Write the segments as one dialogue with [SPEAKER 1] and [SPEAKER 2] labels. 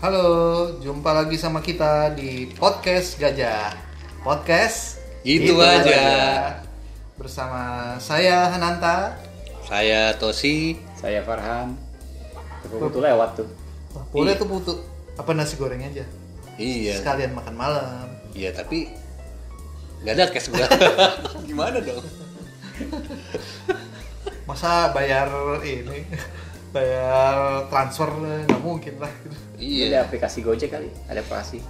[SPEAKER 1] Halo, jumpa lagi sama kita di podcast Gajah. Podcast
[SPEAKER 2] Itu aja.
[SPEAKER 1] Bersama saya Hananta.
[SPEAKER 2] Saya Tosi.
[SPEAKER 3] Saya Farhan. Tepuk itu lewat tuh.
[SPEAKER 1] Wah, boleh tuh putu apa nasi goreng aja.
[SPEAKER 2] Iya.
[SPEAKER 1] Sekalian makan malam.
[SPEAKER 2] Iya tapi nggak ada cash gua. Gimana dong?
[SPEAKER 1] Masa bayar ini? bayar transfer nggak mungkin lah.
[SPEAKER 3] Ada
[SPEAKER 2] Iya.
[SPEAKER 3] aplikasi Gojek kali, ada aplikasi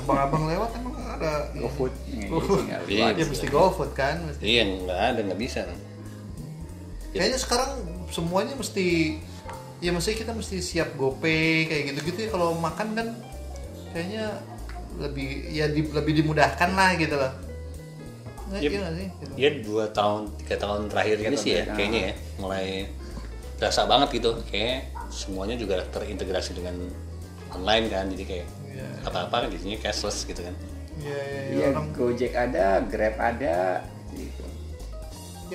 [SPEAKER 1] Abang-abang lewat emang ada.
[SPEAKER 3] GoFood. Iya,
[SPEAKER 1] GoFood.
[SPEAKER 3] nggak ada
[SPEAKER 2] Iya.
[SPEAKER 3] aplikasi.
[SPEAKER 1] Ya mesti GoFood kan, mesti
[SPEAKER 2] Iya nggak ada nggak bisa.
[SPEAKER 1] Kayaknya sekarang semuanya mesti ya mesti kita mesti siap GoPay kayak gitu-gitu ya kalau makan kan kayaknya lebih ya di- lebih dimudahkan lah gitu loh. Nggak
[SPEAKER 2] Yep.
[SPEAKER 1] iya nggak sih? Gitu.
[SPEAKER 2] Iya dua tahun tiga tahun terakhir ini
[SPEAKER 3] Tiga
[SPEAKER 2] sih ya
[SPEAKER 3] tahun terakhir.
[SPEAKER 2] kayaknya ya mulai terasa banget gitu kayak semuanya juga terintegrasi dengan online kan jadi kayak
[SPEAKER 1] Iya.
[SPEAKER 2] apa-apa kan jadinya cashless gitu kan.
[SPEAKER 1] Iya, iya, iya,
[SPEAKER 3] Iya,
[SPEAKER 1] orang
[SPEAKER 3] Gojek ada, Grab ada. Gitu.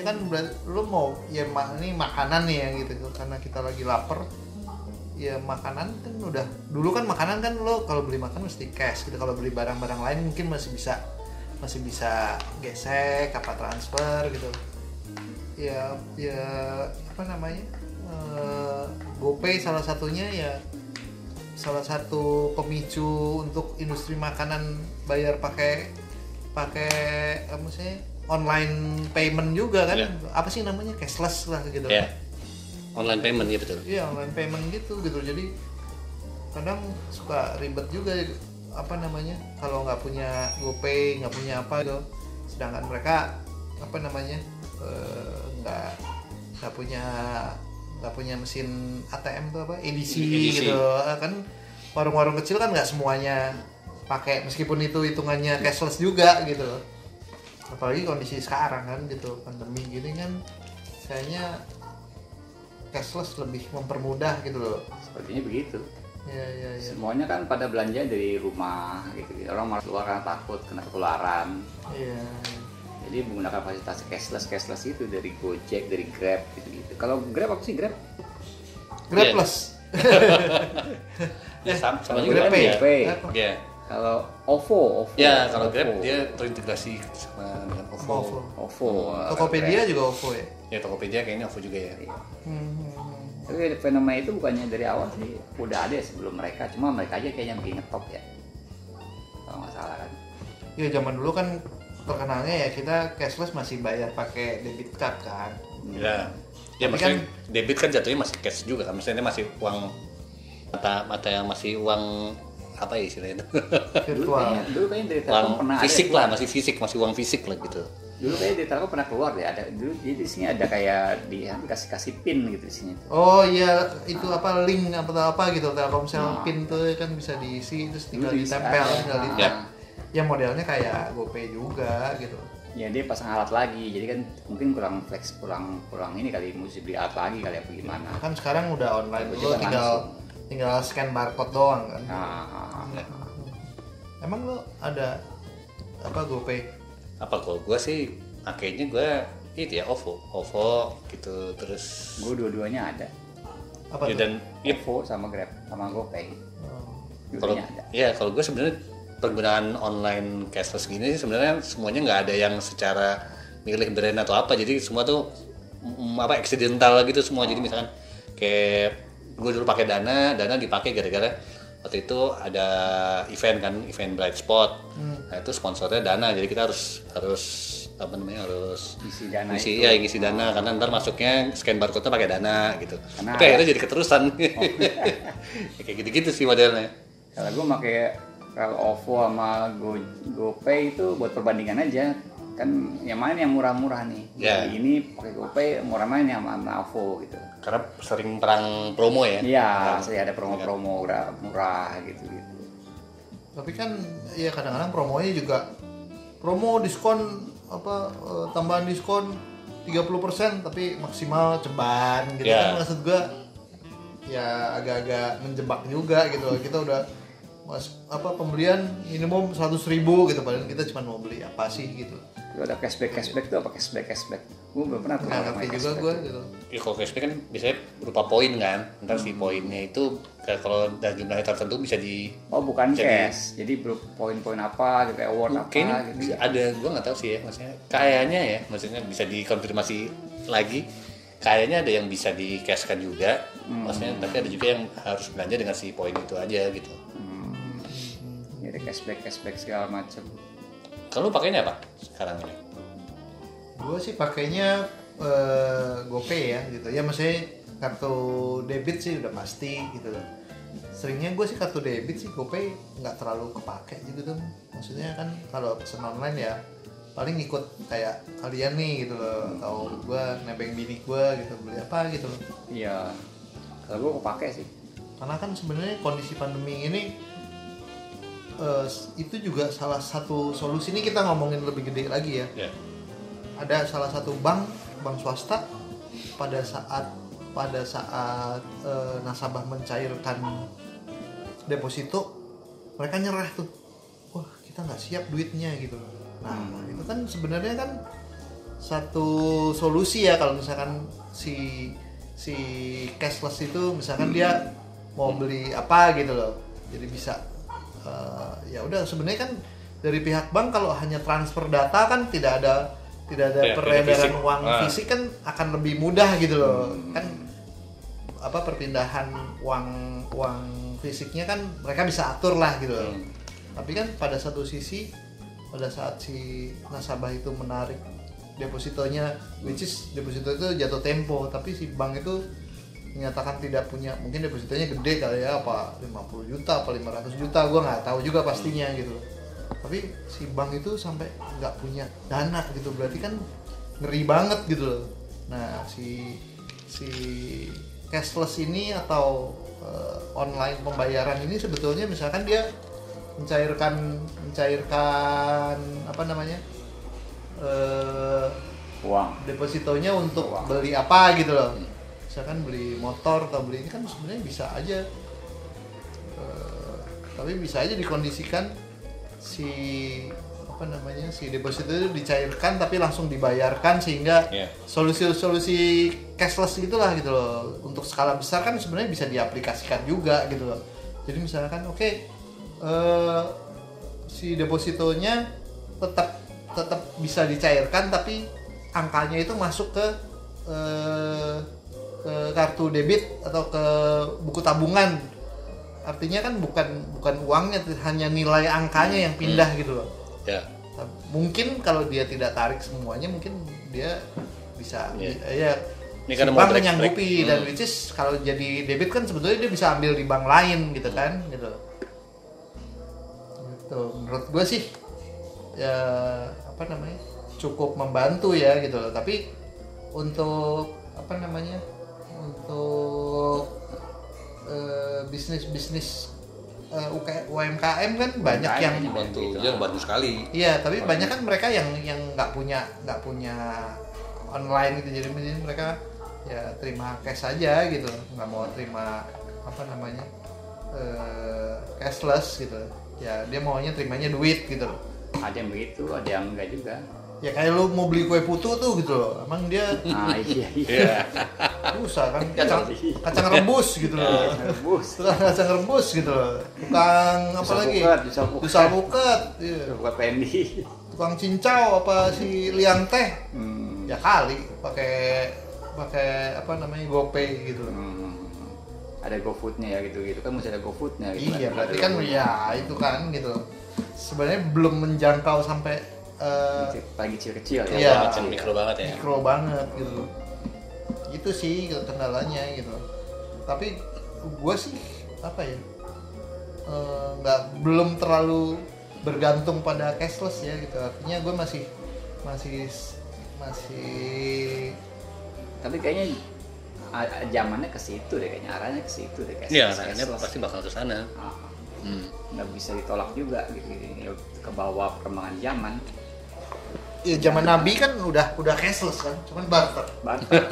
[SPEAKER 1] ya kan berarti lu mau ya ma- ini makanan nih ya gitu karena kita lagi lapar ya makanan kan udah dulu kan makanan kan lo kalau beli makan mesti cash gitu kalau beli barang-barang lain mungkin masih bisa masih bisa gesek apa transfer gitu ya ya apa namanya eh, GoPay salah satunya ya salah satu pemicu untuk industri makanan bayar pakai pakai apa sih online payment juga kan
[SPEAKER 2] Iya.
[SPEAKER 1] apa sih namanya cashless lah gitu
[SPEAKER 2] Ya. Online payment ya betul.
[SPEAKER 1] iya online payment gitu gitu jadi kadang suka ribet juga apa namanya kalau nggak punya GoPay nggak punya apa gitu sedangkan mereka apa namanya eh, nggak nggak punya nggak punya mesin ATM tuh apa EDC,
[SPEAKER 2] EDC.
[SPEAKER 1] gitu Eh, kan warung-warung kecil kan nggak semuanya pakai meskipun itu hitungannya cashless juga gitu loh apalagi kondisi sekarang kan gitu pandemi gini kan kayaknya cashless lebih mempermudah gitu loh.
[SPEAKER 3] Sepertinya begitu.
[SPEAKER 1] Iya iya iya.
[SPEAKER 3] Semuanya kan pada belanja dari rumah gitu. Orang malah keluar karena takut kena ketularan.
[SPEAKER 1] Iya.
[SPEAKER 3] Jadi menggunakan fasilitas cashless cashless itu dari Gojek, dari Grab gitu-gitu. Kalau Grab apa sih Grab?
[SPEAKER 1] Grab
[SPEAKER 2] Iya.
[SPEAKER 1] Plus.
[SPEAKER 2] Ya sama, sama
[SPEAKER 3] Kalau
[SPEAKER 2] juga
[SPEAKER 3] Grab
[SPEAKER 2] kan ya.
[SPEAKER 3] Pay.
[SPEAKER 2] Iya.
[SPEAKER 3] Kalau OVO, OVO.
[SPEAKER 2] Ya kalau
[SPEAKER 3] OVO.
[SPEAKER 2] Grab dia terintegrasi sama dengan OVO.
[SPEAKER 1] OVO.
[SPEAKER 3] OVO. eh,
[SPEAKER 1] Tokopedia juga OVO ya.
[SPEAKER 2] Ya Tokopedia kayaknya OVO juga ya.
[SPEAKER 1] Hmm.
[SPEAKER 3] Tapi fenomena itu bukannya dari awal sih, udah ada ya sebelum mereka, cuma mereka aja kayaknya lagi ngetop ya. Kalau nggak salah kan.
[SPEAKER 1] Ya zaman dulu kan terkenalnya ya kita cashless masih bayar pakai debit card kan.
[SPEAKER 2] Ya. Ya
[SPEAKER 1] Tapi
[SPEAKER 2] maksudnya debit kan jatuhnya masih cash juga kan. Maksudnya dia masih uang mata mata yang masih uang apa ya istilahnya itu?
[SPEAKER 3] Dulu kayaknya,
[SPEAKER 1] Virtual.
[SPEAKER 3] dulu kayaknya dari Telkom
[SPEAKER 2] uang
[SPEAKER 3] pernah
[SPEAKER 2] fisik
[SPEAKER 3] ada.
[SPEAKER 2] lah, masih fisik, masih uang fisik lah gitu.
[SPEAKER 3] Dulu kayaknya dari Telkom pernah keluar deh, ada dulu jadi di sini ada kayak di kasih kasih pin gitu di sini tuh.
[SPEAKER 1] Oh iya itu apa link apa apa gitu Telkomsel
[SPEAKER 3] Nah.
[SPEAKER 1] pin tuh kan bisa diisi terus tinggal
[SPEAKER 3] Dulu diisi
[SPEAKER 1] ditempel
[SPEAKER 3] aja.
[SPEAKER 1] tinggal
[SPEAKER 3] Nah.
[SPEAKER 1] ditap. Ya modelnya kayak GoPay juga gitu.
[SPEAKER 3] Ya dia pasang alat lagi, jadi kan mungkin kurang flex, kurang kurang ini kali, mesti beli alat lagi kali apa gimana.
[SPEAKER 1] Kan sekarang udah online
[SPEAKER 3] Gojek
[SPEAKER 1] lo
[SPEAKER 3] kan
[SPEAKER 1] tinggal
[SPEAKER 3] langsung.
[SPEAKER 1] tinggal scan barcode doang kan.
[SPEAKER 3] Nah,
[SPEAKER 1] Emang lo ada apa GoPay?
[SPEAKER 2] Apa kalau gua sih pakainya gua itu ya OVO, OVO gitu terus
[SPEAKER 3] gue dua-duanya ada,
[SPEAKER 1] Apa
[SPEAKER 2] ya,
[SPEAKER 1] tuh?
[SPEAKER 2] dan ya,
[SPEAKER 3] OVO sama Grab sama GoPay,
[SPEAKER 1] Oh.
[SPEAKER 2] kalau
[SPEAKER 3] dua-duanya ada.
[SPEAKER 2] ya kalau gue sebenarnya penggunaan online cashless gini sih sebenarnya semuanya nggak ada yang secara milih brand atau apa jadi semua tuh mm, apa eksidental gitu semua jadi misalkan kayak gue dulu pakai dana dana dipakai gara-gara waktu itu ada event kan event bright spot
[SPEAKER 3] Hmm.
[SPEAKER 2] nah itu sponsornya dana jadi kita harus harus apa namanya harus
[SPEAKER 3] Isi dana
[SPEAKER 2] isi
[SPEAKER 3] itu.
[SPEAKER 2] ya ngisi dana karena ntar masuknya scan barcode nya pakai dana gitu
[SPEAKER 3] Karena- Oh.
[SPEAKER 2] tapi akhirnya jadi keterusan Ya, kayak gitu-gitu sih modelnya
[SPEAKER 3] Kalau gue pakai kalau OVO sama Go, GoPay itu buat perbandingan aja kan yang mana yang murah-murah nih.
[SPEAKER 2] Ya.
[SPEAKER 3] Jadi ini pakai GoPay murah mana yang mana OVO gitu.
[SPEAKER 2] karena sering perang promo ya
[SPEAKER 3] Iya, saya ada promo-promo murah, murah gitu gitu.
[SPEAKER 1] Tapi kan ya kadang-kadang promonya juga promo diskon apa eh, tambahan diskon 30% tapi maksimal ceban gitu
[SPEAKER 2] Ya.
[SPEAKER 1] kan maksud gua ya agak-agak menjebak juga gitu loh. Kita udah mas apa pembelian minimum 100.000 gitu padahal kita cuma mau beli apa sih gitu.
[SPEAKER 3] Itu ada cashback cashback tuh apa cashback cashback. Gue belum pernah tuh
[SPEAKER 1] Nggak
[SPEAKER 3] kalau
[SPEAKER 1] ngerti
[SPEAKER 3] pakai
[SPEAKER 1] Nah, juga
[SPEAKER 3] cashback.
[SPEAKER 1] gua gitu.
[SPEAKER 3] Hmm.
[SPEAKER 2] Ya, kalau cashback kan biasanya berupa poin kan ntar si poinnya itu kayak kalau dan jumlahnya tertentu bisa di
[SPEAKER 3] Oh bukan
[SPEAKER 2] Jadi-
[SPEAKER 3] cash, jadi ber- poin-poin apa gitu, award apa
[SPEAKER 2] Hmm, kayaknya
[SPEAKER 3] gitu.
[SPEAKER 2] ada gua nggak tahu sih ya maksudnya kayaknya ya maksudnya bisa dikonfirmasi lagi kayaknya ada yang bisa di cashkan juga
[SPEAKER 3] Hmm.
[SPEAKER 2] maksudnya tapi ada juga yang harus belanja dengan si poin itu aja gitu
[SPEAKER 3] Jadi cashback cashback segala macam.
[SPEAKER 2] kalau lu pakainya apa sekarang ini
[SPEAKER 1] gue sih pakainya eh, GoPay ya gitu ya maksudnya kartu debit sih udah pasti gitu loh seringnya gue sih kartu debit sih GoPay nggak terlalu kepake gitu tuh maksudnya kan kalau pesan online ya paling ikut kayak kalian nih gitu loh atau gue nebeng bini gue gitu beli apa gitu loh
[SPEAKER 3] Iya. Kalau gue kepake sih.
[SPEAKER 1] karena kan sebenarnya kondisi pandemi ini eh, itu juga salah satu solusi ini kita ngomongin lebih gede lagi ya
[SPEAKER 2] ya
[SPEAKER 1] ada salah satu bank bank swasta pada saat pada saat eh, nasabah mencairkan deposito mereka nyerah tuh wah kita nggak siap duitnya gitu nah
[SPEAKER 2] Hmm.
[SPEAKER 1] itu kan sebenarnya kan satu solusi ya kalau misalkan si si cashless itu misalkan dia mau
[SPEAKER 2] Hmm.
[SPEAKER 1] beli apa gitu loh jadi bisa eh, ya udah sebenarnya kan dari pihak bank kalau hanya transfer data kan tidak ada tidak ada
[SPEAKER 2] Iya, Tidak- tidak
[SPEAKER 1] peredaran
[SPEAKER 2] fisik.
[SPEAKER 1] uang
[SPEAKER 2] Ah. Hmm.
[SPEAKER 1] fisik kan akan lebih mudah gitu loh kan apa perpindahan uang uang fisiknya kan mereka bisa atur lah gitu loh
[SPEAKER 2] Hmm.
[SPEAKER 1] tapi kan pada satu sisi pada saat si nasabah itu menarik depositonya which is deposito itu jatuh tempo tapi si bank itu menyatakan tidak punya mungkin depositonya gede kali ya apa 50 juta apa 500 juta gua nggak tahu juga pastinya gitu loh. tapi si bank itu sampai nggak punya dana gitu berarti kan ngeri banget gitu loh nah si si cashless ini atau eh, online pembayaran ini sebetulnya misalkan dia mencairkan mencairkan apa namanya eh
[SPEAKER 3] Uang.
[SPEAKER 1] depositonya untuk beli apa gitu loh misalkan beli motor atau beli ini kan sebenarnya bisa aja Eh, tapi bisa aja dikondisikan si apa namanya si deposito itu dicairkan tapi langsung dibayarkan sehingga
[SPEAKER 2] Iya.
[SPEAKER 1] solusi-solusi cashless gitulah gitu loh untuk skala besar kan sebenarnya bisa diaplikasikan juga gitu loh jadi misalkan oke eh, si depositonya tetap tetap bisa dicairkan tapi angkanya itu masuk ke eh, ke kartu debit atau ke buku tabungan artinya kan bukan bukan uangnya hanya nilai angkanya yang pindah gitu loh
[SPEAKER 2] ya
[SPEAKER 1] mungkin kalau dia tidak tarik semuanya mungkin dia bisa
[SPEAKER 2] Iya.
[SPEAKER 1] ya
[SPEAKER 2] Ini
[SPEAKER 1] si
[SPEAKER 2] karena mau
[SPEAKER 1] bank
[SPEAKER 2] track-track.
[SPEAKER 1] menyanggupi dan
[SPEAKER 2] Hmm.
[SPEAKER 1] which is kalau jadi debit kan sebetulnya dia bisa ambil di bank lain gitu kan gitu gitu menurut gue sih ya apa namanya cukup membantu ya gitu loh tapi untuk apa namanya untuk eh, bisnis bisnis eh, UK UMKM kan banyak
[SPEAKER 3] UMKM
[SPEAKER 1] yang
[SPEAKER 3] banyak
[SPEAKER 2] bantu ya bantu sekali
[SPEAKER 1] Iya, tapi banyak kan mereka yang yang nggak punya nggak punya online gitu jadi jadi mereka ya terima cash aja gitu nggak mau terima apa namanya eh, cashless gitu ya dia maunya terimanya duit gitu loh
[SPEAKER 3] Ada yang begitu, ada yang enggak juga.
[SPEAKER 1] ya kayak lu mau beli kue putu tuh gitu loh emang dia
[SPEAKER 3] Ah iya iya.
[SPEAKER 2] Iya.
[SPEAKER 1] susah kan kacang kacang rebus gitu loh
[SPEAKER 3] Iya. Rebus.
[SPEAKER 1] tukang kacang rebus gitu loh tukang apa
[SPEAKER 3] Bisa
[SPEAKER 1] lagi
[SPEAKER 3] buket, bisa buket.
[SPEAKER 1] bisa buket iya.
[SPEAKER 3] Buka pendi.
[SPEAKER 1] tukang cincau apa si liang teh
[SPEAKER 3] Hmm.
[SPEAKER 1] ya kali pakai pakai apa namanya GoPay gitu loh.
[SPEAKER 3] Hmm. Ada GoFood-nya ya gitu-gitu kan mesti ada GoFood-nya gitu.
[SPEAKER 1] Iya, berarti
[SPEAKER 3] Ada
[SPEAKER 1] kan
[SPEAKER 3] GoFood.
[SPEAKER 1] ya itu kan gitu. Sebenarnya belum menjangkau sampai eh,
[SPEAKER 3] lagi kecil-kecil ya.
[SPEAKER 1] Iya.
[SPEAKER 2] macam mikro banget ya
[SPEAKER 1] mikro banget gitu. loh. Itu sih kendalanya gitu. Tapi gue sih apa ya? eh, nggak belum terlalu bergantung pada cashless ya gitu. Artinya gue masih masih masih
[SPEAKER 3] Tapi kayaknya a- zamannya ke situ deh kayaknya arahnya ke situ deh kayak
[SPEAKER 2] iya
[SPEAKER 3] sukses.
[SPEAKER 2] kayaknya pasti bakal ke sana
[SPEAKER 3] Ah,
[SPEAKER 2] hmm.
[SPEAKER 3] nggak bisa ditolak juga gitu, gitu. ke bawah perkembangan zaman
[SPEAKER 1] ya zaman Nabi kan udah udah cashless kan, cuman barter.
[SPEAKER 3] barter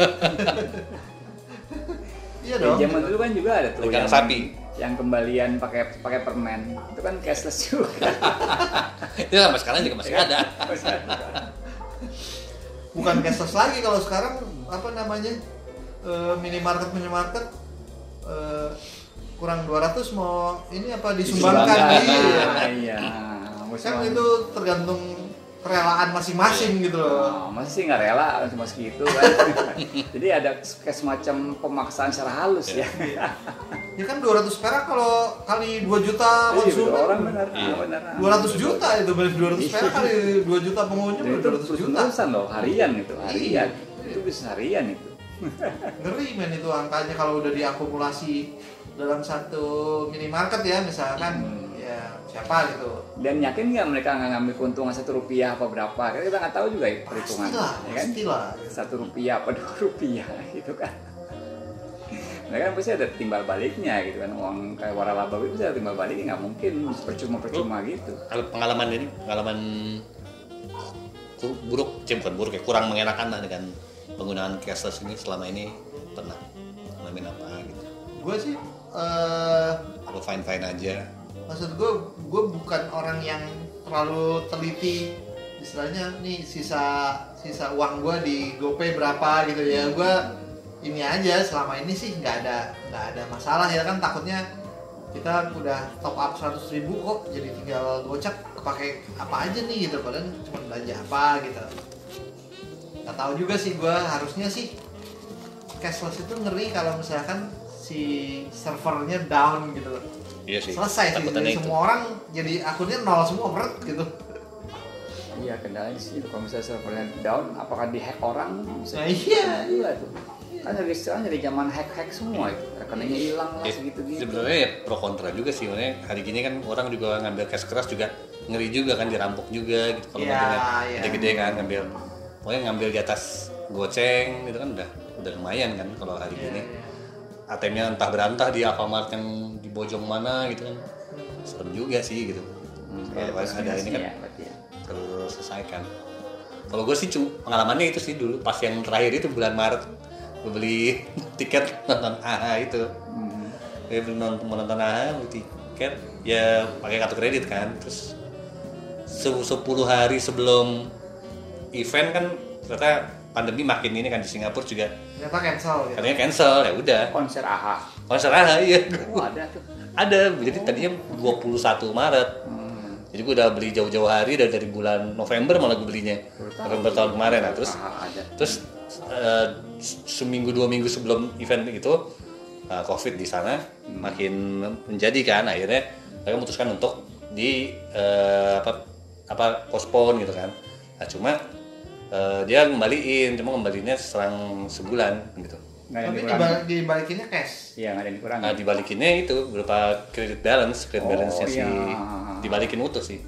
[SPEAKER 1] Iya
[SPEAKER 3] Di
[SPEAKER 1] dong.
[SPEAKER 3] zaman dulu kan juga ada tuh
[SPEAKER 2] Dagang
[SPEAKER 3] yang-
[SPEAKER 2] sapi.
[SPEAKER 3] yang kembalian pakai pakai permen itu kan cashless juga
[SPEAKER 2] itu Iya, sampai sekarang juga masih
[SPEAKER 3] Iya.
[SPEAKER 2] ada
[SPEAKER 1] bukan cashless lagi kalau sekarang apa namanya eh, minimarket minimarket eh, kurang 200 mau ini apa
[SPEAKER 3] Sumbangkan,
[SPEAKER 1] disumbangkan iya
[SPEAKER 3] iya.
[SPEAKER 1] kan
[SPEAKER 3] Muslim.
[SPEAKER 1] itu tergantung kerelaan masing-masing gitu loh
[SPEAKER 3] Oh, masih sih nggak rela cuma segitu kan. Jadi ada kayak semacam pemaksaan secara halus ya.
[SPEAKER 1] ya kan 200 perak kalau kali 2 juta
[SPEAKER 3] Iya, betul, orang
[SPEAKER 1] konsumen
[SPEAKER 3] benar, benar.
[SPEAKER 1] 200 juta itu bener 200 perak kali 2 juta pengunjung
[SPEAKER 3] Jadi Nah, itu
[SPEAKER 1] udah 200 juta Iya.
[SPEAKER 3] terus-terusan loh, harian itu, harian. Itu bisa harian itu.
[SPEAKER 1] ngeri men itu angkanya kalau udah diakumulasi dalam satu minimarket ya misalkan
[SPEAKER 3] Hmm.
[SPEAKER 1] ya siapa gitu
[SPEAKER 3] Dan yakin nggak mereka nggak ngambil keuntungan satu rupiah apa berapa? Karena kita nggak tahu juga ya perhitungan,
[SPEAKER 1] pastilah
[SPEAKER 3] ya kan?
[SPEAKER 1] pastilah
[SPEAKER 3] Satu rupiah apa dua rupiah gitu kan? Mereka kan pasti ada timbal baliknya gitu kan uang kayak waralaba itu ada timbal baliknya nggak mungkin percuma
[SPEAKER 2] Oh.
[SPEAKER 3] percuma gitu.
[SPEAKER 2] Al- pengalaman ini pengalaman ku- buruk cem bukan buruk ya kurang mengenakan lah dengan penggunaan cashless ini selama ini pernah ngalamin apa gitu
[SPEAKER 1] gue sih eh
[SPEAKER 2] apa fine fine aja
[SPEAKER 1] maksud gue gue bukan orang yang terlalu teliti istilahnya nih sisa sisa uang gue di GoPay berapa gitu ya gue ini aja selama ini sih nggak ada nggak ada masalah ya kan takutnya kita udah top up 100.000 ribu kok jadi tinggal gocap pakai apa aja nih gitu padahal cuma belanja apa gitu nggak tahu juga sih gue harusnya sih cashless itu ngeri kalau misalkan si servernya down gitu loh
[SPEAKER 2] iya sih
[SPEAKER 1] selesai sih
[SPEAKER 2] takutannya
[SPEAKER 1] jadi
[SPEAKER 2] itu
[SPEAKER 1] semua orang jadi akunnya nol semua berat gitu
[SPEAKER 3] Iya kendalanya sih kalau misalnya servernya down, apakah di hack orang? Bisa
[SPEAKER 1] Nah, iya.
[SPEAKER 3] iya tuh. Kan dari sekarang jadi zaman hack hack semua itu, rekeningnya hilang lah
[SPEAKER 2] Ya,
[SPEAKER 3] segitu gitu.
[SPEAKER 2] sebenarnya ya pro kontra juga sih Maksudnya hari gini kan orang juga ngambil cash keras juga ngeri juga kan dirampok juga gitu kalau
[SPEAKER 1] Iya,
[SPEAKER 2] ngambilnya
[SPEAKER 1] iya.
[SPEAKER 2] gede-gede kan ngambil pokoknya ngambil di atas goceng gitu kan udah udah lumayan kan kalau hari
[SPEAKER 1] Iya.
[SPEAKER 2] gini ATM-nya entah berantah di Alfamart yang di Bojong mana gitu kan serem juga sih gitu Kayak ada, ada ini kan
[SPEAKER 3] Ya, berarti ya.
[SPEAKER 2] terselesaikan kalau gue sih cuma pengalamannya itu sih dulu pas yang terakhir itu bulan Maret gue beli tiket nonton AHA itu
[SPEAKER 3] Hmm.
[SPEAKER 2] gue beli nonton menonton AHA beli tiket ya pakai kartu kredit kan terus se- 10 hari sebelum event kan ternyata pandemi makin ini kan di Singapura juga
[SPEAKER 1] ternyata cancel gitu
[SPEAKER 2] katanya cancel ya udah
[SPEAKER 3] Konser AHA.
[SPEAKER 2] konser AHA iya
[SPEAKER 3] Oh, ada tuh.
[SPEAKER 2] ada jadi tadinya 21 Maret
[SPEAKER 3] Hmm.
[SPEAKER 2] jadi gue udah beli jauh-jauh hari dari, dari bulan November malah gue belinya November tahun kemarin nah terus
[SPEAKER 3] AHA ada.
[SPEAKER 2] terus eh, seminggu dua minggu sebelum event itu eh, covid di sana makin menjadi kan akhirnya mereka memutuskan untuk di eh, apa apa postpone gitu kan nah cuma eh, dia ngembaliin cuma ngembaliinnya serang sebulan gitu
[SPEAKER 3] Nggak ada yang
[SPEAKER 1] tapi
[SPEAKER 3] dikurangi.
[SPEAKER 1] dibal- dibalikinnya cash
[SPEAKER 3] Iya nggak ada yang dikurangi.
[SPEAKER 2] Nah, dibalikinnya itu berupa credit balance, credit
[SPEAKER 3] Oh,
[SPEAKER 2] balance-nya
[SPEAKER 3] iya.
[SPEAKER 2] sih dibalikin utuh sih.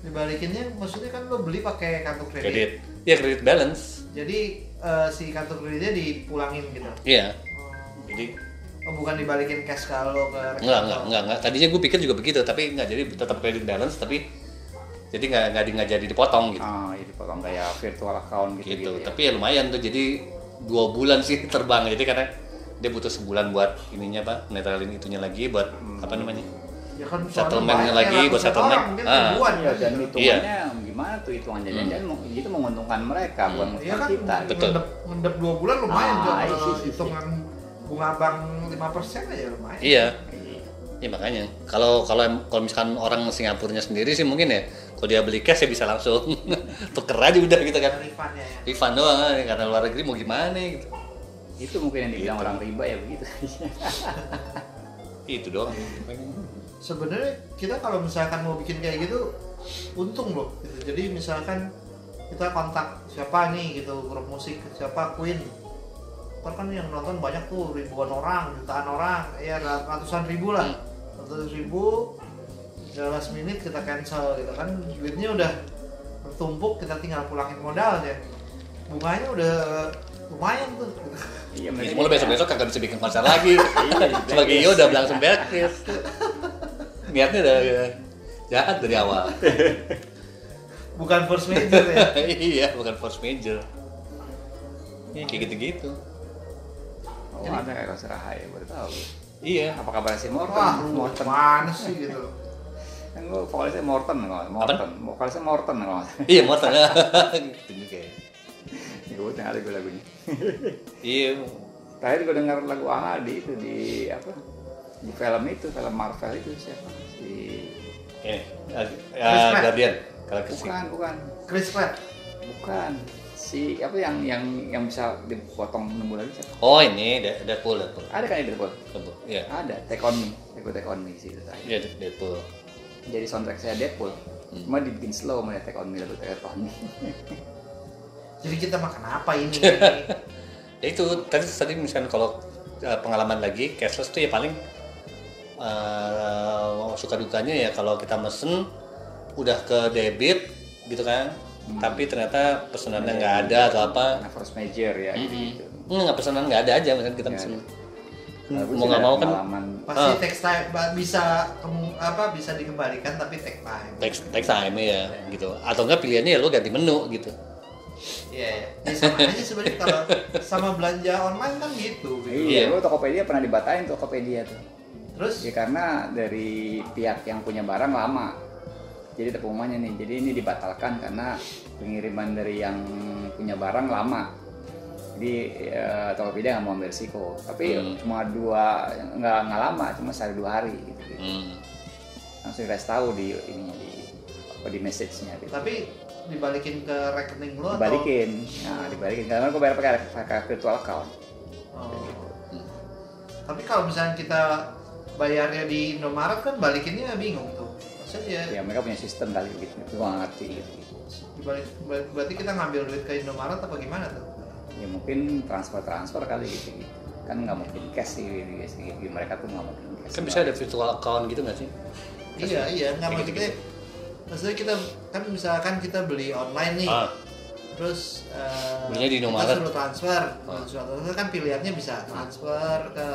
[SPEAKER 1] dibalikinnya maksudnya kan lo beli pakai kartu kredit
[SPEAKER 2] Kredit. Iya, credit balance.
[SPEAKER 1] jadi eh, si kartu kreditnya dipulangin gitu
[SPEAKER 2] Iya.
[SPEAKER 1] oh,
[SPEAKER 2] Jadi
[SPEAKER 1] oh, bukan dibalikin cash kalau ke rekening
[SPEAKER 2] enggak, enggak,
[SPEAKER 1] lo.
[SPEAKER 2] enggak, enggak. Tadinya gue pikir juga begitu, tapi enggak jadi tetap credit balance tapi jadi enggak enggak, di- enggak jadi dipotong gitu.
[SPEAKER 3] Ah, jadi potong kayak virtual account gitu.
[SPEAKER 2] gitu.
[SPEAKER 3] gitu ya.
[SPEAKER 2] Tapi ya lumayan tuh jadi dua bulan sih terbang. Jadi karena dia butuh sebulan buat ininya Pak, netralin itunya lagi buat
[SPEAKER 3] Hmm.
[SPEAKER 2] apa namanya?
[SPEAKER 1] ya kan soalnya
[SPEAKER 2] Settlementnya
[SPEAKER 1] banyak
[SPEAKER 2] lagi
[SPEAKER 1] ratusan
[SPEAKER 2] buat settlement.
[SPEAKER 1] orang, mungkin
[SPEAKER 2] Ah.
[SPEAKER 1] ribuan
[SPEAKER 3] Iya,
[SPEAKER 1] gitu.
[SPEAKER 3] dan hitungannya gimana tuh hitungan jajan-jajan itu menguntungkan mereka bukan
[SPEAKER 1] Iya
[SPEAKER 3] menguntungkan
[SPEAKER 1] kan,
[SPEAKER 3] kita.
[SPEAKER 2] Hmm. Betul.
[SPEAKER 1] Mendep, mendep 2 bulan lumayan
[SPEAKER 3] Ah,
[SPEAKER 1] tuh
[SPEAKER 3] iya,
[SPEAKER 1] kalau
[SPEAKER 3] iya, iya.
[SPEAKER 1] hitungan bunga bank 5% aja lumayan.
[SPEAKER 2] Iya. Ya makanya kalau kalau em- kalau misalkan orang Singapurnya sendiri sih mungkin ya kalau dia beli cash ya bisa langsung tuker aja udah gitu kan.
[SPEAKER 1] Dari refundnya ya.
[SPEAKER 2] Refund doang kan, karena luar negeri mau gimana gitu.
[SPEAKER 3] Itu mungkin yang dibilang orang riba ya begitu.
[SPEAKER 2] Itu doang.
[SPEAKER 3] Iya.
[SPEAKER 1] sebenarnya kita kalau misalkan mau bikin kayak gitu untung loh gitu. jadi misalkan kita kontak siapa nih gitu grup musik siapa Queen Ntar kan yang nonton banyak tuh ribuan orang jutaan orang ya ratusan ribu lah ratusan ribu dalam last minute kita cancel gitu kan duitnya udah bertumpuk kita tinggal pulangin modalnya bunganya udah lumayan tuh gitu.
[SPEAKER 3] Iya,
[SPEAKER 2] Ya,
[SPEAKER 3] mereka
[SPEAKER 2] cuma
[SPEAKER 3] juga-
[SPEAKER 2] besok-besok kagak bisa bikin konser lagi. Sebagai
[SPEAKER 3] iya.
[SPEAKER 2] Iyo udah langsung beres. Niatnya udah udah jahat dari awal.
[SPEAKER 1] bukan first major ya
[SPEAKER 2] iya, bukan force major. Ya, kayak gitu-gitu.
[SPEAKER 3] Oh, ada kayak konser AHA ya, baru tahu.
[SPEAKER 2] Iya.
[SPEAKER 3] Apa kabar si Morton?
[SPEAKER 1] wah lu
[SPEAKER 3] Morton.
[SPEAKER 1] mana sih gitu
[SPEAKER 3] Kan gua vokalisnya Morton kalau Morton. Vokalisnya Morton kalau.
[SPEAKER 2] Iya, mau tengah. gitu juga ya.
[SPEAKER 3] Ya gua dengar lagu lagunya.
[SPEAKER 2] Iya.
[SPEAKER 3] Terakhir gua dengar lagu AHA di itu di apa? di film itu film Marvel itu siapa si
[SPEAKER 2] Ini, eh,
[SPEAKER 1] Chris
[SPEAKER 2] eh,
[SPEAKER 1] Pratt.
[SPEAKER 2] Guardian. Kalau Chris
[SPEAKER 3] bukan bukan
[SPEAKER 1] Chris Pratt
[SPEAKER 3] bukan si apa yang yang yang bisa dipotong nunggu lagi siapa
[SPEAKER 2] Oh ini De- Deadpool, Deadpool,
[SPEAKER 3] ada kan itu Deadpool
[SPEAKER 2] Deadpool. Iya,
[SPEAKER 3] ada Take On Me Take- Take On Me sih itu terakhir.
[SPEAKER 2] iya De- Deadpool.
[SPEAKER 3] jadi soundtrack saya Deadpool
[SPEAKER 2] Hmm.
[SPEAKER 3] cuma dibikin slow mulai Take On Me lagu Take On Me
[SPEAKER 1] jadi kita makan apa ini
[SPEAKER 2] Ya itu tadi tadi misalnya kalau eh, pengalaman lagi cashless tuh ya paling eh, suka dukanya ya kalau kita mesen udah ke debit gitu kan, tapi ternyata pesanannya nggak ada atau apa.
[SPEAKER 3] Karena first major ya gitu, gitu.
[SPEAKER 2] Hmm, nggak pesanan nggak ada aja misalnya kita
[SPEAKER 3] Nggak
[SPEAKER 2] pesen.
[SPEAKER 3] Nah, gue
[SPEAKER 2] mau
[SPEAKER 3] sih
[SPEAKER 2] nggak
[SPEAKER 3] ada
[SPEAKER 2] mau kan
[SPEAKER 3] pengalaman
[SPEAKER 1] pasti text time ba- bisa kemu- apa bisa dikembalikan tapi take time
[SPEAKER 2] text text time ya gitu atau enggak pilihannya ya lo ganti menu gitu
[SPEAKER 1] iya iya. ya sama aja sebenarnya kalau sama belanja online kan gitu
[SPEAKER 3] Iya, gua Tokopedia pernah dibatain Tokopedia tuh.
[SPEAKER 1] terus
[SPEAKER 3] Ya karena dari pihak yang punya barang lama. Jadi ada pengumumannya nih. Jadi ini dibatalkan karena pengiriman dari yang punya barang lama. Jadi eh, Tokopedia nggak mau ambil risiko. Tapi
[SPEAKER 2] Hmm.
[SPEAKER 3] cuma dua nggak nggak lama, cuma sehari dua hari. Gitu, gitu.
[SPEAKER 2] hmm.
[SPEAKER 3] Langsung dikasih tahu di ini di apa, di message-nya gitu.
[SPEAKER 1] tapi dibalikin ke rekening lo
[SPEAKER 3] Dibalikin, nah dibalikin. Karena gue bayar pakai pakai virtual account.
[SPEAKER 1] atau Oh. tapi kalau misalnya kita bayarnya di Indomaret kan balikinnya bingung tuh maksudnya ya
[SPEAKER 3] Ya mereka punya sistem kali gitu. Gue nggak ngerti gitu.
[SPEAKER 1] dibalik ber- berarti kita ngambil duit ke Indomaret apa gimana tuh
[SPEAKER 3] ya mungkin transfer transfer kali gitu gitu kan nggak mungkin cash sih gitu, gitu, gitu. mereka tuh nggak mungkin cash
[SPEAKER 2] kan bisa ada virtual account gitu nggak sih
[SPEAKER 1] iya iya nggak
[SPEAKER 2] Kayak
[SPEAKER 1] maksudnya maksudnya kita kan misalkan kita beli online nih
[SPEAKER 2] Ah.
[SPEAKER 1] terus eh,
[SPEAKER 2] Belinya di Indomaret. Ah.
[SPEAKER 1] kita suruh transfer Suruh transfer kan pilihannya bisa transfer ke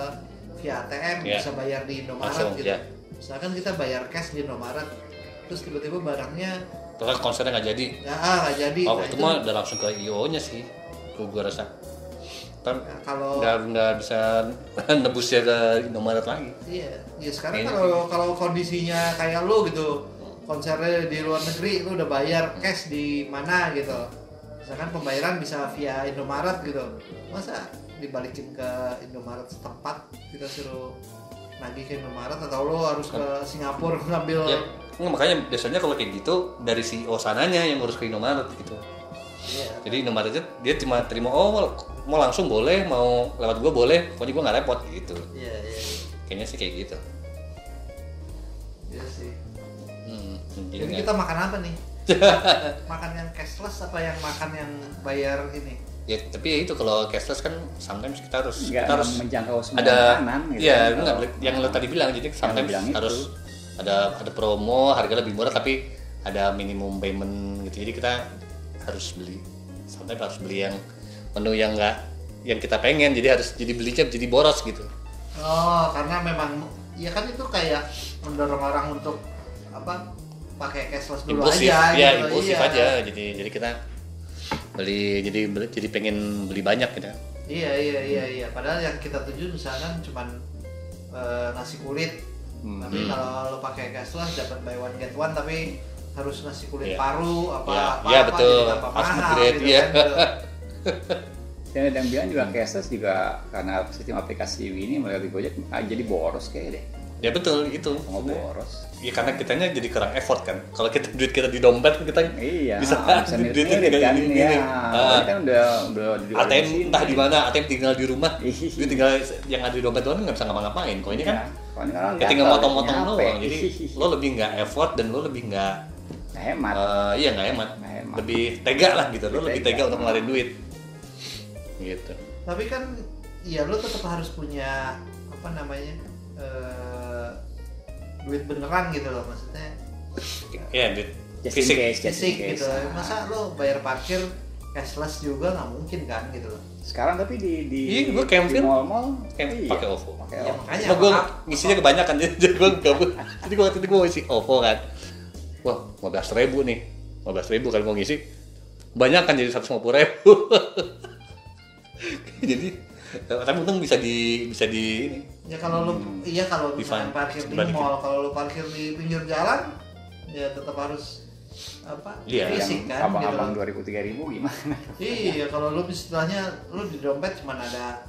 [SPEAKER 1] via ATM
[SPEAKER 2] Iya.
[SPEAKER 1] bisa bayar di Indomaret
[SPEAKER 2] Langsung,
[SPEAKER 1] gitu
[SPEAKER 2] iya.
[SPEAKER 1] misalkan kita bayar cash di Indomaret terus tiba-tiba barangnya
[SPEAKER 2] terus konsernya nggak jadi
[SPEAKER 1] ya ah nggak jadi
[SPEAKER 2] oh
[SPEAKER 1] Nah,
[SPEAKER 2] itu mah udah langsung ke IO nya sih gua, gua rasa kan
[SPEAKER 1] nah, kalau
[SPEAKER 2] nggak nggak bisa nebusnya ke Indomaret lagi
[SPEAKER 1] iya ya sekarang
[SPEAKER 2] Kayaknya
[SPEAKER 1] kalau kalau kondisinya kayak lu gitu konsernya di luar negeri lu udah bayar cash di mana gitu misalkan pembayaran bisa via Indomaret gitu masa dibalikin ke Indomaret setempat kita suruh nagih ke Indomaret atau lu harus ke Singapura ngambil
[SPEAKER 2] ya nggak, makanya biasanya kalau kayak gitu dari CEO sananya yang ngurus ke Indomaret gitu
[SPEAKER 1] Iya.
[SPEAKER 2] jadi Indomaret aja dia cuma terima oh mau- mau langsung boleh mau lewat gua boleh pokoknya gua nggak repot gitu
[SPEAKER 1] iya iya
[SPEAKER 2] kayaknya sih kayak gitu
[SPEAKER 1] iya sih
[SPEAKER 2] hmm,
[SPEAKER 1] jadi
[SPEAKER 2] nggak-
[SPEAKER 1] kita makan apa nih makan yang cashless apa yang makan yang bayar ini
[SPEAKER 2] ya tapi ya itu kalau cashless kan sometimes kita harus
[SPEAKER 3] Nggak
[SPEAKER 2] kita harus
[SPEAKER 3] menjangkau semua
[SPEAKER 2] ada
[SPEAKER 3] makanan gitu
[SPEAKER 2] iya
[SPEAKER 3] kan,
[SPEAKER 2] lu nggak
[SPEAKER 3] kalau-
[SPEAKER 2] boleh- yang lo tadi bilang jadi sometimes
[SPEAKER 3] bilang itu.
[SPEAKER 2] harus ada ada promo harga lebih murah tapi ada minimum payment gitu jadi kita harus beli sometimes harus beli yang menu yang nggak yang kita pengen jadi harus jadi belinya jadi boros gitu
[SPEAKER 1] Oh, karena memang ya kan itu kayak mendorong orang untuk apa pakai cashless dulu
[SPEAKER 2] impulsif
[SPEAKER 1] aja
[SPEAKER 2] ya
[SPEAKER 1] gitu.
[SPEAKER 2] impulsif
[SPEAKER 1] iya.
[SPEAKER 2] aja jadi jadi kita beli jadi beli- jadi pengen beli banyak gitu
[SPEAKER 1] Iya, iya, iya, iya. Padahal yang kita tuju misalkan cuman eh, nasi kulit.
[SPEAKER 2] Hmm.
[SPEAKER 1] Tapi kalau lo pakai cashless dapat buy one get one tapi harus nasi kulit
[SPEAKER 2] Iya.
[SPEAKER 1] paru apa
[SPEAKER 2] Iya.
[SPEAKER 1] apa,
[SPEAKER 2] Iya,
[SPEAKER 1] apa,
[SPEAKER 2] betul.
[SPEAKER 1] jadi tambah
[SPEAKER 2] Harus
[SPEAKER 1] mahal
[SPEAKER 2] upgrade,
[SPEAKER 1] gitu
[SPEAKER 2] iya.
[SPEAKER 1] kan.
[SPEAKER 3] dan ada yang bilang juga cashless juga karena sistem aplikasi ini mulai di Gojek ah, jadi boros kayak deh
[SPEAKER 2] ya betul itu
[SPEAKER 3] mau boros
[SPEAKER 2] ya karena kitanya jadi kurang effort kan kalau kita duit kita di dompet kita
[SPEAKER 3] iya
[SPEAKER 2] bisa,
[SPEAKER 3] bisa
[SPEAKER 2] duit
[SPEAKER 3] mirip
[SPEAKER 2] duitnya
[SPEAKER 3] mirip
[SPEAKER 2] tinggal
[SPEAKER 3] kan
[SPEAKER 2] di-
[SPEAKER 3] ya
[SPEAKER 2] gini. Ah,
[SPEAKER 3] ini kan udah udah di Iya,
[SPEAKER 2] ATM entah di mana ATM tinggal di rumah
[SPEAKER 3] Ih.
[SPEAKER 2] duit tinggal yang ada di dompet doang nggak bisa ngapa-ngapain kalau ini kan
[SPEAKER 3] kan
[SPEAKER 2] ya tinggal motong-motong doang jadi
[SPEAKER 3] Iya,
[SPEAKER 2] lo lebih nggak effort dan lo lebih nggak
[SPEAKER 3] hemat
[SPEAKER 2] eh, iya nggak hemat
[SPEAKER 3] Nggak hemat.
[SPEAKER 2] lebih tega lah gitu lo lebih
[SPEAKER 3] Lebih
[SPEAKER 2] tega
[SPEAKER 3] tega.
[SPEAKER 2] untuk ngeluarin duit gitu
[SPEAKER 1] tapi kan ya lo tetap harus punya apa namanya eh, duit beneran gitu loh maksudnya
[SPEAKER 2] ya duit
[SPEAKER 3] Just in
[SPEAKER 2] fisik
[SPEAKER 3] case, just in
[SPEAKER 1] fisik
[SPEAKER 3] case.
[SPEAKER 1] gitu loh.
[SPEAKER 3] Ah.
[SPEAKER 1] masa lo bayar parkir cashless juga nggak mungkin kan gitu loh
[SPEAKER 3] sekarang tapi di di
[SPEAKER 2] Iya, gua camping.
[SPEAKER 3] di mall-mall
[SPEAKER 2] Camping
[SPEAKER 3] iya,
[SPEAKER 2] pakai OVO.
[SPEAKER 3] pakai
[SPEAKER 1] ya
[SPEAKER 3] OVO.
[SPEAKER 1] makanya
[SPEAKER 2] Cuma gue
[SPEAKER 1] apa-
[SPEAKER 2] ngisinya kebanyakan jadi gue gabut. Jadi gue waktu itu gue ngisi OVO kan. Wah, 15 ribu nih. 15 ribu kan gue ngisi. Banyak kan jadi 150 ribu. jadi tapi untung bisa di bisa di ini.
[SPEAKER 1] ya kalau lo iya kalau
[SPEAKER 2] Di
[SPEAKER 1] misalkan
[SPEAKER 2] fun-
[SPEAKER 1] parkir di
[SPEAKER 2] dibalikin.
[SPEAKER 1] mall kalau lo parkir di pinggir jalan ya tetap harus apa
[SPEAKER 2] Iya,
[SPEAKER 3] Yang
[SPEAKER 1] fisik kan gitu
[SPEAKER 3] abang-abang
[SPEAKER 1] loh.
[SPEAKER 3] dua ribu tiga ribu gimana
[SPEAKER 1] iya kalau lo istilahnya lo di dompet cuma ada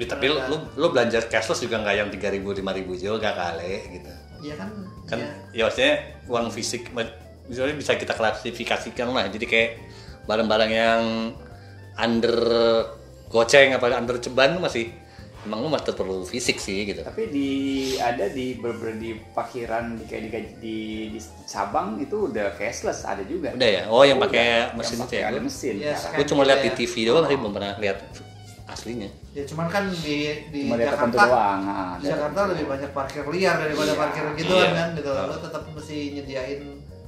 [SPEAKER 2] Jadi, tapi lu, lu, lu belanja cashless juga nggak yang 3000 5000 juga kali gitu.
[SPEAKER 1] Iya kan?
[SPEAKER 2] Kan
[SPEAKER 1] iya.
[SPEAKER 2] ya maksudnya uang fisik ma- misalnya bisa kita klasifikasikan lah. Jadi kayak barang-barang yang under goceng apa under ceban lu masih emang lu masih perlu fisik sih gitu.
[SPEAKER 3] Tapi di ada di berber di parkiran di kayak di, di, di cabang itu udah cashless ada juga.
[SPEAKER 2] Udah ya? Oh, yang
[SPEAKER 3] Udah.
[SPEAKER 2] pakai mesin
[SPEAKER 3] Yang
[SPEAKER 2] itu ya,
[SPEAKER 3] pakai Ada
[SPEAKER 2] Bu?
[SPEAKER 3] mesin.
[SPEAKER 1] Iya,
[SPEAKER 3] sekarang.
[SPEAKER 2] Gue cuma lihat di
[SPEAKER 1] Iya.
[SPEAKER 2] TV doang sih belum pernah lihat aslinya.
[SPEAKER 1] Ya cuman kan di di
[SPEAKER 3] Cuma lihat tertentu
[SPEAKER 1] Jakarta
[SPEAKER 3] doang. ah,
[SPEAKER 1] di
[SPEAKER 3] ada
[SPEAKER 1] Jakarta
[SPEAKER 3] tertentu.
[SPEAKER 1] lebih banyak parkir liar daripada
[SPEAKER 3] Iya.
[SPEAKER 1] parkir gituan
[SPEAKER 2] Iya.
[SPEAKER 1] kan gitu.
[SPEAKER 2] Ah.
[SPEAKER 1] Lo tetap mesti nyediain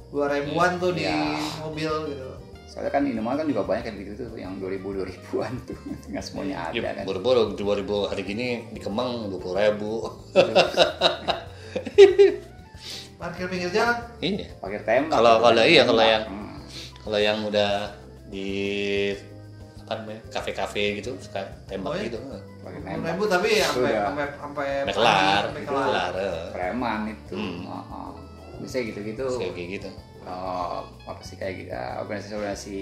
[SPEAKER 1] dua ribuan tuh di
[SPEAKER 3] Iya.
[SPEAKER 1] mobil gitu.
[SPEAKER 3] Soalnya kan Indomaret kan juga banyak kayak gitu tuh yang 2000 2000-an tuh. Enggak semuanya ada
[SPEAKER 2] Ya,
[SPEAKER 3] kan.
[SPEAKER 2] boro-boro 2000 hari gini di Kemang 20 ribu.
[SPEAKER 1] Parkir pinggir jalan.
[SPEAKER 2] iya.
[SPEAKER 3] Parkir tembak.
[SPEAKER 2] Kalau-
[SPEAKER 3] gitu
[SPEAKER 2] kalau
[SPEAKER 3] kan,
[SPEAKER 2] iya, kalau
[SPEAKER 3] tembak.
[SPEAKER 2] yang-
[SPEAKER 3] Hmm.
[SPEAKER 2] Kalau yang udah di apa namanya kafe-kafe gitu suka
[SPEAKER 1] Oh,
[SPEAKER 2] tembak
[SPEAKER 1] iya?
[SPEAKER 2] gitu.
[SPEAKER 3] Parkir
[SPEAKER 1] Enam
[SPEAKER 3] tembak.
[SPEAKER 1] ribu tapi ya sampai
[SPEAKER 3] Sudah.
[SPEAKER 1] sampai sampai
[SPEAKER 2] Sampai kelar,
[SPEAKER 1] sampai kelar.
[SPEAKER 2] kelar. eh.
[SPEAKER 3] Preman itu.
[SPEAKER 2] Hmm.
[SPEAKER 3] Oh, oh. Biasanya gitu-gitu.
[SPEAKER 2] Kayak kayak gitu.
[SPEAKER 3] eh, apa sih kayak gitu, organisasi-organisasi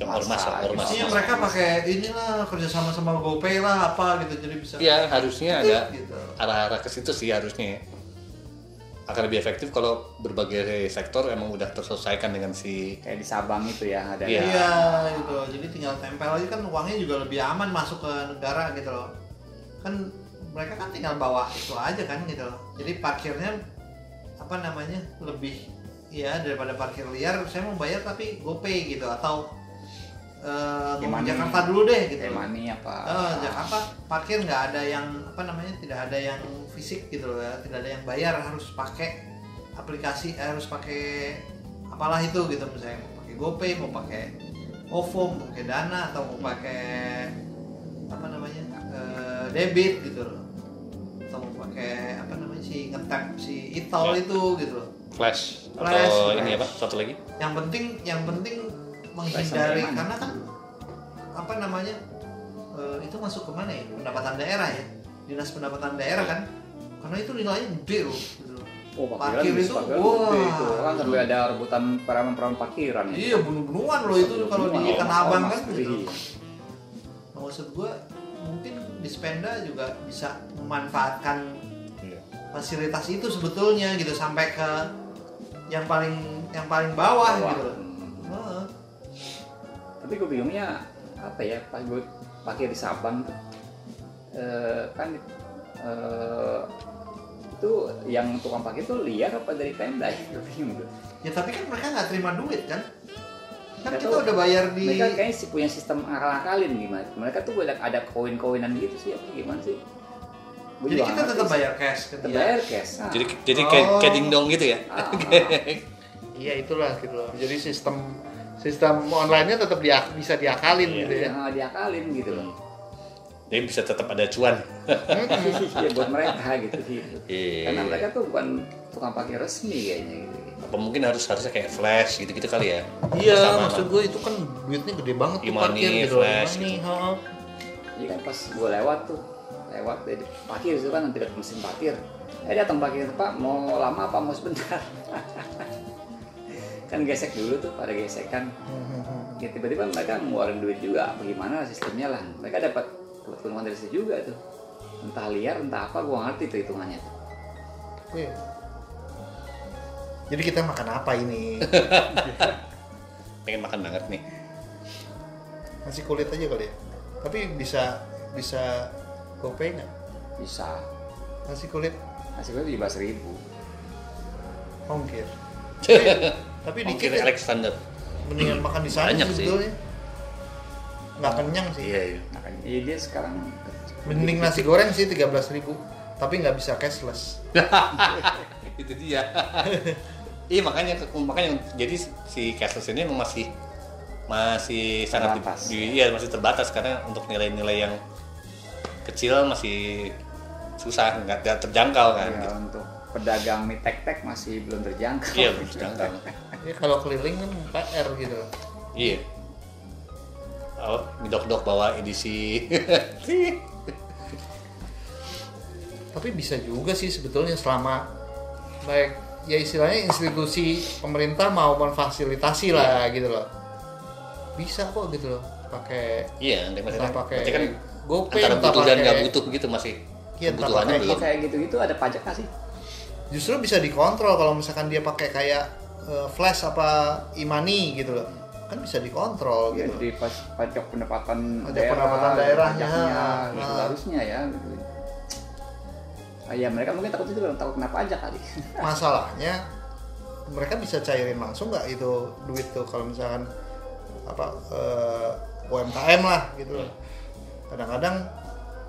[SPEAKER 2] Yang ormas,
[SPEAKER 3] massa
[SPEAKER 2] ormas.
[SPEAKER 3] gitu.
[SPEAKER 1] Ini mereka pakai inilah kerjasama sama GoPay lah apa gitu jadi bisa.
[SPEAKER 2] Iya, harusnya ada
[SPEAKER 1] Gitu.
[SPEAKER 2] arah-arah ke situ sih harusnya. ya. Akan lebih efektif kalau berbagai sektor emang udah terselesaikan dengan si
[SPEAKER 3] kayak di Sabang itu ya ada
[SPEAKER 2] Iya.
[SPEAKER 1] Iya gitu. Jadi tinggal tempel aja kan uangnya juga lebih aman masuk ke negara gitu loh. Kan mereka kan tinggal bawa itu aja kan gitu loh. Jadi parkirnya apa namanya? lebih ya daripada parkir liar saya mau bayar tapi GoPay gitu atau eh ngomong
[SPEAKER 3] E-money.
[SPEAKER 1] Jakarta dulu deh gitu.
[SPEAKER 3] kayak mani apa
[SPEAKER 1] Eh,
[SPEAKER 3] Ah,
[SPEAKER 1] Jakarta parkir nggak ada yang apa namanya? tidak ada yang fisik gitu loh ya. Tidak ada yang bayar harus pakai aplikasi eh, harus pakai apalah itu gitu misalnya mau pakai GoPay mau pakai OVO mau pakai Dana atau mau pakai apa namanya eh, debit gitu loh atau mau pakai apa namanya si ngetap si e-tol
[SPEAKER 2] Ya.
[SPEAKER 1] itu gitu loh
[SPEAKER 2] flash,
[SPEAKER 1] Flash,
[SPEAKER 2] atau ini
[SPEAKER 1] flash.
[SPEAKER 2] apa satu lagi
[SPEAKER 1] yang penting yang penting menghindari
[SPEAKER 3] Sampai mana?
[SPEAKER 1] karena kan apa namanya eh, itu masuk ke mana ya pendapatan daerah ya dinas pendapatan daerah kan karena itu nilainya gede loh gitu loh.
[SPEAKER 3] oh,
[SPEAKER 1] parkir itu,
[SPEAKER 3] parkiran
[SPEAKER 1] wah.
[SPEAKER 3] gede itu orang sampai ada rebutan peraman-peraman parkiran ya.
[SPEAKER 1] Iya bunuh-bunuhan loh itu
[SPEAKER 3] Semua
[SPEAKER 1] kalau di
[SPEAKER 3] orang-
[SPEAKER 1] Tanah Abang
[SPEAKER 3] orang
[SPEAKER 1] kan
[SPEAKER 3] sendiri.
[SPEAKER 1] gitu. Nah, Maksud gue mungkin Dispenda juga bisa memanfaatkan
[SPEAKER 2] Iya.
[SPEAKER 1] fasilitas itu sebetulnya gitu sampai ke yang paling yang paling bawah,
[SPEAKER 3] Bawah.
[SPEAKER 1] gitu loh.
[SPEAKER 3] Hmm.
[SPEAKER 1] Heeh.
[SPEAKER 3] tapi gue bingungnya apa ya pas gue parkir di Sabang tuh eh, kan eh, itu yang tukang parkir tuh liar apa dari pemda ya gue bingung tuh
[SPEAKER 1] Ya tapi kan mereka nggak terima duit kan? Kan
[SPEAKER 3] Nggak
[SPEAKER 1] kita
[SPEAKER 3] tahu.
[SPEAKER 1] udah bayar di
[SPEAKER 3] mereka kayaknya sih punya sistem akal-akalin gimana mereka tuh banyak ada koin-koinan gitu sih apa gimana sih Gua
[SPEAKER 1] jadi
[SPEAKER 3] juga
[SPEAKER 1] kita
[SPEAKER 3] nggak
[SPEAKER 1] tetap
[SPEAKER 3] ngerti sih.
[SPEAKER 1] bayar cash
[SPEAKER 3] tetap
[SPEAKER 1] ketika
[SPEAKER 3] bayar cash nah.
[SPEAKER 2] Jadi jadi kayak
[SPEAKER 1] Oh.
[SPEAKER 2] kayak dingdong gitu ya.
[SPEAKER 3] Ah.
[SPEAKER 4] Iya itulah gitu loh. Jadi sistem sistem online-nya tetap dia- bisa diakalin
[SPEAKER 2] Iya.
[SPEAKER 4] gitu ya.
[SPEAKER 3] yang diakalin gitu loh
[SPEAKER 2] Jadi bisa tetap ada cuan.
[SPEAKER 3] ya buat mereka gitu sih
[SPEAKER 2] Iya.
[SPEAKER 3] karena mereka tuh bukan tukang parkir resmi kayaknya gitu
[SPEAKER 2] Apa mungkin harus harusnya kayak flash gitu-gitu kali ya?
[SPEAKER 4] Iya,
[SPEAKER 2] Sama-sama.
[SPEAKER 4] maksud gue itu kan duitnya gede banget tuh
[SPEAKER 2] E-money,
[SPEAKER 4] parkir gitu.
[SPEAKER 2] flash
[SPEAKER 4] E-money,
[SPEAKER 2] gitu.
[SPEAKER 4] ha.
[SPEAKER 3] Jadi kan pas gue lewat tuh, lewat dari parkir itu kan nanti dekat mesin parkir. Eh datang parkir pak, mau lama apa mau sebentar? kan gesek dulu tuh pada gesekan. Ya tiba-tiba mereka ngeluarin duit juga, apa gimana sistemnya lah. Mereka dapat dapat keuntungan dari situ juga tuh. Entah liar, entah apa, gue ngerti tuh hitungannya tuh.
[SPEAKER 4] Iya. Jadi kita makan apa ini?
[SPEAKER 2] Pengen makan banget nih.
[SPEAKER 4] Masih kulit aja kali ya. Tapi bisa bisa GoPay nggak?
[SPEAKER 3] Bisa.
[SPEAKER 4] Masih kulit
[SPEAKER 3] Hasilnya tujuh belas ribu.
[SPEAKER 4] ongkir. Tapi dikit
[SPEAKER 2] Mungkin
[SPEAKER 4] ya.
[SPEAKER 2] Alexander.
[SPEAKER 4] mendingan makan di sana
[SPEAKER 2] Banyak
[SPEAKER 4] sih
[SPEAKER 2] sih.
[SPEAKER 4] sebetulnya. Nggak kenyang sih.
[SPEAKER 2] Iya, iya.
[SPEAKER 3] Nah kan, iya dia sekarang
[SPEAKER 4] Mending nasi goreng sih 13.000 tapi nggak bisa cashless.
[SPEAKER 2] Itu dia. Iya makanya makanya jadi si cashless ini emang masih masih sangat di-
[SPEAKER 3] Terbatas.
[SPEAKER 2] di- iya masih terbatas karena untuk nilai-nilai yang kecil masih susah nggak nggak terjangkau kan
[SPEAKER 3] Ya,
[SPEAKER 4] Iya.
[SPEAKER 2] gitu.
[SPEAKER 3] untuk pedagang mie tek-tek masih belum terjangkau.
[SPEAKER 2] Iya, belum terjangkau.
[SPEAKER 4] Ya kalau keliling kan PR gitu.
[SPEAKER 2] Iya. Oh, dok-dok bawa edisi.
[SPEAKER 4] Tapi bisa juga sih sebetulnya selama baik ya istilahnya institusi pemerintah mau memfasilitasi lah gitu loh. Bisa kok gitu loh. pakai
[SPEAKER 2] Iya, nanti masih
[SPEAKER 4] Entah pakai
[SPEAKER 2] berarti kan
[SPEAKER 4] GoPay,
[SPEAKER 2] antara
[SPEAKER 4] entah
[SPEAKER 2] butuh dan nggak
[SPEAKER 4] pakai-
[SPEAKER 2] butuh gitu masih
[SPEAKER 4] Iya, entah
[SPEAKER 2] kebutuhannya
[SPEAKER 4] pakai-
[SPEAKER 2] belum.
[SPEAKER 3] Kalau kayak gitu-gitu ada pajak nggak sih?
[SPEAKER 4] justru bisa dikontrol kalau misalkan dia pakai kayak eh, flash apa imani gitu loh kan bisa dikontrol
[SPEAKER 3] Ya,
[SPEAKER 4] gitu
[SPEAKER 3] di pas- pajak pendapatan
[SPEAKER 4] Pajak pendapatan daerahnya.
[SPEAKER 3] pajaknya,
[SPEAKER 4] Nah.
[SPEAKER 3] gitu harusnya ya. Gitu. Ah, ya mereka mungkin takut itu takut kena pajak kali.
[SPEAKER 4] masalahnya mereka bisa cairin langsung nggak itu duit tuh kalau misalkan apa eh, UMKM lah gitu loh kadang-kadang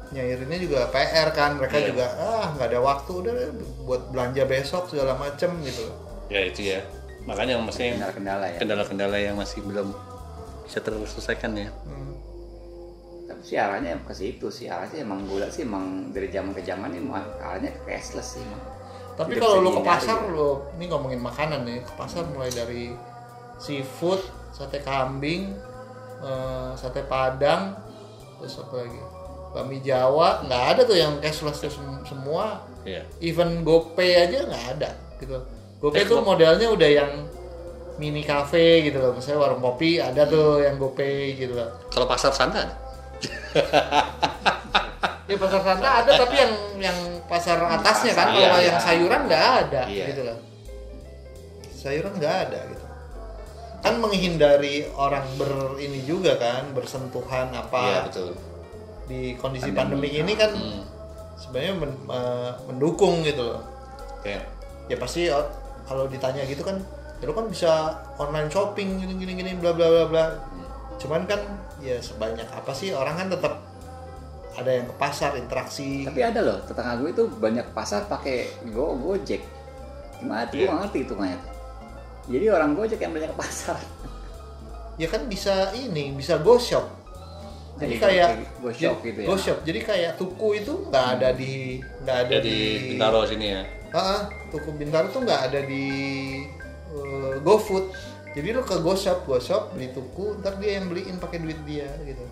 [SPEAKER 4] nyairinnya juga PR kan mereka
[SPEAKER 2] Iya.
[SPEAKER 4] juga ah nggak ada waktu udah deh, buat belanja besok segala macem gitu loh
[SPEAKER 2] Ya itu ya. Makanya
[SPEAKER 4] Iya.
[SPEAKER 2] masih
[SPEAKER 3] Kendala-kendala ya.
[SPEAKER 2] kendala-kendala yang masih belum bisa terselesaikan ya.
[SPEAKER 4] Hmm.
[SPEAKER 3] Tapi sih arahnya ke situ sih arahnya sih emang gula sih emang dari zaman ke zaman ini mah arahnya ke cashless sih. Emang.
[SPEAKER 4] Tapi
[SPEAKER 3] Tidak
[SPEAKER 4] kalau
[SPEAKER 3] bisa
[SPEAKER 4] lu ke
[SPEAKER 3] dihindari,
[SPEAKER 4] pasar
[SPEAKER 3] ya.
[SPEAKER 4] lu ini ngomongin makanan ya, ke pasar mulai dari seafood, sate kambing, eh, sate padang, terus apa lagi? Bakmi Jawa, nggak ada tuh yang cashless tuh sem- semua.
[SPEAKER 2] Iya.
[SPEAKER 4] Even GoPay aja nggak ada gitu. GoPay
[SPEAKER 2] Eh,
[SPEAKER 4] tuh
[SPEAKER 2] Go-
[SPEAKER 4] modelnya udah yang mini cafe gitu loh. Misalnya warung kopi ada tuh yang GoPay gitu loh.
[SPEAKER 2] Kalau pasar Santa ada?
[SPEAKER 4] Ya pasar Santa ada tapi yang yang pasar atasnya kan
[SPEAKER 2] Pasar,
[SPEAKER 4] kalau
[SPEAKER 2] iya,
[SPEAKER 4] yang
[SPEAKER 3] iya.
[SPEAKER 4] sayuran nggak ada
[SPEAKER 2] Iya.
[SPEAKER 4] gitu loh. Sayuran nggak ada gitu. Kan menghindari orang ber ini juga kan bersentuhan
[SPEAKER 2] Iya,
[SPEAKER 4] apa
[SPEAKER 2] betul.
[SPEAKER 4] di kondisi
[SPEAKER 3] Pandemi.
[SPEAKER 4] pandemi, ini kan
[SPEAKER 2] Hmm.
[SPEAKER 4] sebenarnya men- eh, mendukung gitu loh.
[SPEAKER 2] Ya.
[SPEAKER 4] Ya pasti o- kalau ditanya gitu kan ya lu kan bisa online shopping gini gini gini bla bla bla bla. Cuman kan ya sebanyak apa sih orang kan tetap ada yang ke pasar interaksi
[SPEAKER 3] Tapi ada loh tetangga gue itu banyak pasar pakai go gojek. Gimana
[SPEAKER 4] Iya.
[SPEAKER 3] tuh gue nggak ngerti itu kayaknya. Jadi orang gojek yang banyak ke pasar.
[SPEAKER 4] ya kan bisa ini bisa go shop jadi
[SPEAKER 3] Iya,
[SPEAKER 4] kayak
[SPEAKER 3] kayak go shop gitu ya.
[SPEAKER 4] go shop. jadi kayak tuku itu nggak ada di nggak ada
[SPEAKER 2] Jadi
[SPEAKER 4] di
[SPEAKER 2] Bintaro sini ya.
[SPEAKER 4] Ah, ah, tuku bintaro tuh nggak ada di eh, GoFood jadi lu ke go shop go shop beli tuku ntar dia yang beliin pakai duit dia gitu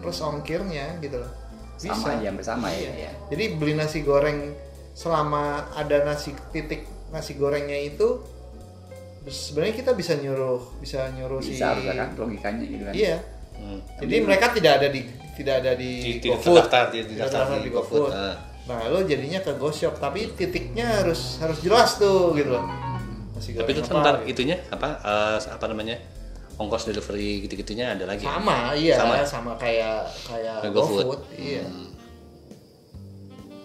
[SPEAKER 4] plus ongkirnya gitu loh bisa
[SPEAKER 3] Hmm.
[SPEAKER 4] Iya.
[SPEAKER 3] Sama aja hampir sama ya. ya.
[SPEAKER 4] jadi beli nasi goreng selama ada nasi titik nasi gorengnya itu sebenarnya kita bisa nyuruh bisa nyuruh si
[SPEAKER 3] Bisa harusnya kan logikanya gitu kan.
[SPEAKER 4] Iya.
[SPEAKER 2] Hmm.
[SPEAKER 4] Jadi mereka tidak ada di tidak ada di,
[SPEAKER 2] Di- Tidak
[SPEAKER 4] GoFood.
[SPEAKER 2] terdaftar, tidak
[SPEAKER 4] Tidak
[SPEAKER 2] terdaftar
[SPEAKER 4] terdaftar
[SPEAKER 2] di
[SPEAKER 4] di
[SPEAKER 2] GoFood.
[SPEAKER 4] GoFood.
[SPEAKER 2] Ah.
[SPEAKER 4] Nah, lo jadinya ke GoShop tapi titiknya harus harus jelas tuh gitu loh. Masih
[SPEAKER 2] Tapi itu kan ntar itunya apa eh, apa namanya? Ongkos delivery gitu-gitunya ada lagi. ya?
[SPEAKER 4] sama, iya
[SPEAKER 2] Sama.
[SPEAKER 4] sama, kayak kayak
[SPEAKER 2] Kayak GoFood. Hmm.
[SPEAKER 4] GoFood, iya.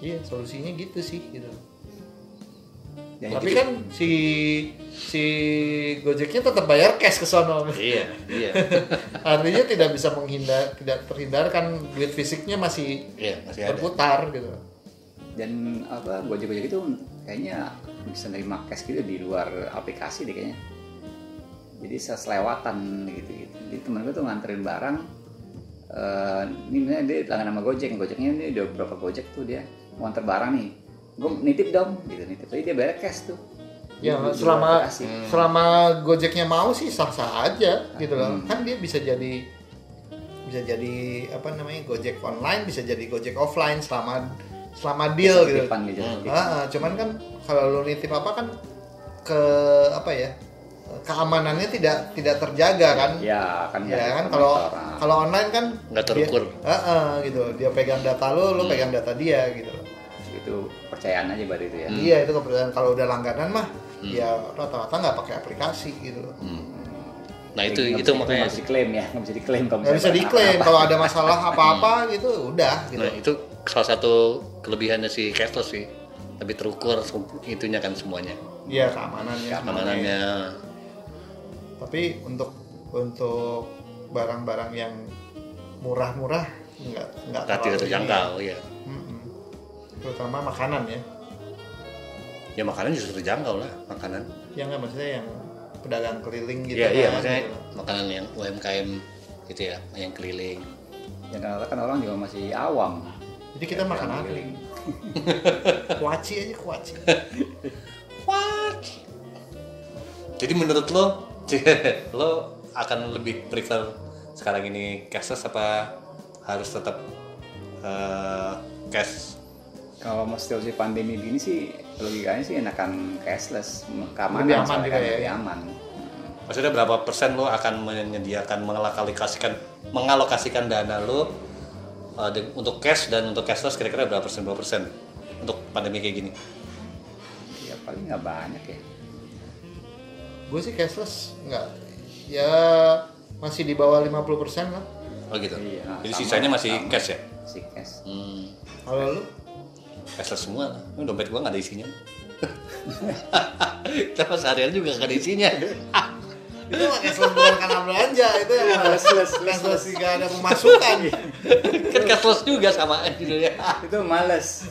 [SPEAKER 4] Iya, solusinya gitu sih gitu.
[SPEAKER 3] Ya,
[SPEAKER 2] gitu
[SPEAKER 4] tapi
[SPEAKER 3] jadi-
[SPEAKER 4] kan si si Gojeknya tetap bayar cash ke sono.
[SPEAKER 2] Iya, iya.
[SPEAKER 4] Artinya tidak bisa menghindar tidak terhindarkan duit fisiknya masih
[SPEAKER 2] Iya, masih ada.
[SPEAKER 4] berputar gitu.
[SPEAKER 3] dan apa gojek-gojek itu kayaknya bisa nerima cash gitu di luar aplikasi deh kayaknya jadi seselewatan gitu gitu jadi temen gue tuh nganterin barang eh, ini misalnya dia langganan sama gojek gojeknya ini udah berapa gojek tuh dia mau nganter barang nih gue nitip dong gitu nitip tapi dia bayar cash tuh
[SPEAKER 4] Ya
[SPEAKER 3] Di- di luar
[SPEAKER 4] selama
[SPEAKER 3] aplikasi.
[SPEAKER 2] Hmm.
[SPEAKER 4] selama Gojeknya mau sih sah-sah aja gitu loh. Kan dia bisa jadi bisa jadi apa namanya Gojek online bisa jadi Gojek offline selama selama deal gitu.
[SPEAKER 3] Titipan gitu
[SPEAKER 2] Hmm.
[SPEAKER 3] titipan.
[SPEAKER 4] Ah, ah, cuman kan kalau lu nitip apa kan ke apa ya? keamanannya tidak tidak terjaga kan.
[SPEAKER 3] ya kan
[SPEAKER 4] Ya
[SPEAKER 3] ada
[SPEAKER 4] kan kalau
[SPEAKER 3] orang.
[SPEAKER 4] kalau online kan
[SPEAKER 2] Nggak
[SPEAKER 4] dia-
[SPEAKER 2] terukur.
[SPEAKER 4] Ah, ah, gitu. Dia pegang data lu, lu pegang data dia gitu loh.
[SPEAKER 3] itu percayaan aja baru itu ya
[SPEAKER 2] Hmm.
[SPEAKER 4] Iya itu kebetulan kalau udah langganan mah ya rata-rata nggak pakai aplikasi gitu loh.
[SPEAKER 2] Hmm. Nah, itu
[SPEAKER 3] Jadi nggak
[SPEAKER 2] itu
[SPEAKER 3] bisa-
[SPEAKER 2] makanya
[SPEAKER 3] nggak bisa diklaim ya nggak bisa diklaim kalau
[SPEAKER 4] nggak bisa
[SPEAKER 3] misalnya
[SPEAKER 4] diklaim
[SPEAKER 3] apa-apa.
[SPEAKER 4] kalau ada masalah apa-apa gitu udah gitu.
[SPEAKER 2] Nah itu salah satu kelebihannya si Castos sih lebih terukur sem- itunya kan semuanya
[SPEAKER 4] Iya keamanannya.
[SPEAKER 2] keamanannya
[SPEAKER 4] Tapi untuk untuk barang-barang yang murah-murah nggak nggak
[SPEAKER 2] tadi
[SPEAKER 4] terlalu
[SPEAKER 2] terjangkau ya
[SPEAKER 4] ini. Mm-mm. Terutama makanan ya.
[SPEAKER 2] ya makanan justru terjangkau lah makanan
[SPEAKER 4] Yang nggak maksudnya yang pedagang keliling gitu.
[SPEAKER 2] Iya iya
[SPEAKER 4] kan,
[SPEAKER 2] maksudnya
[SPEAKER 4] gitu.
[SPEAKER 2] makanan yang UMKM gitu ya yang keliling
[SPEAKER 3] Ya karena kan orang juga masih awam.
[SPEAKER 4] Jadi kita
[SPEAKER 2] Iya,
[SPEAKER 4] makan apa?
[SPEAKER 3] Keliling.
[SPEAKER 4] Kuaci aja kuaci.
[SPEAKER 2] what jadi menurut lo lo akan lebih prefer sekarang ini cashless apa harus tetap eh, cash
[SPEAKER 3] Kalau mas situasi pandemi gini sih logikanya sih enakan cashless, keamanan
[SPEAKER 4] Lebih aman
[SPEAKER 3] soalnya
[SPEAKER 4] juga
[SPEAKER 3] kan
[SPEAKER 4] ya.
[SPEAKER 3] lebih aman.
[SPEAKER 2] oke maksudnya berapa persen lo akan menyediakan mengalokasikan mengalokasikan dana lo uh, de- untuk cash dan untuk cashless kira-kira berapa persen berapa persen untuk pandemi kayak gini
[SPEAKER 3] ya paling nggak banyak ya
[SPEAKER 1] gue sih cashless nggak ya masih di bawah 50% lah
[SPEAKER 2] oh gitu
[SPEAKER 3] Iya,
[SPEAKER 2] jadi
[SPEAKER 3] sama,
[SPEAKER 2] sisanya masih
[SPEAKER 3] sama.
[SPEAKER 2] cash ya
[SPEAKER 3] si cash
[SPEAKER 2] hmm,
[SPEAKER 1] kalau lu
[SPEAKER 2] cashless semua lah. Ini dompet gua nggak ada isinya Tapi seharian juga nggak ada isinya
[SPEAKER 1] itu mah cashless bukan karena belanja itu yang
[SPEAKER 3] Iya,
[SPEAKER 1] cashless cashless nggak ada pemasukan
[SPEAKER 2] kan cashless juga sama aja ya
[SPEAKER 3] itu males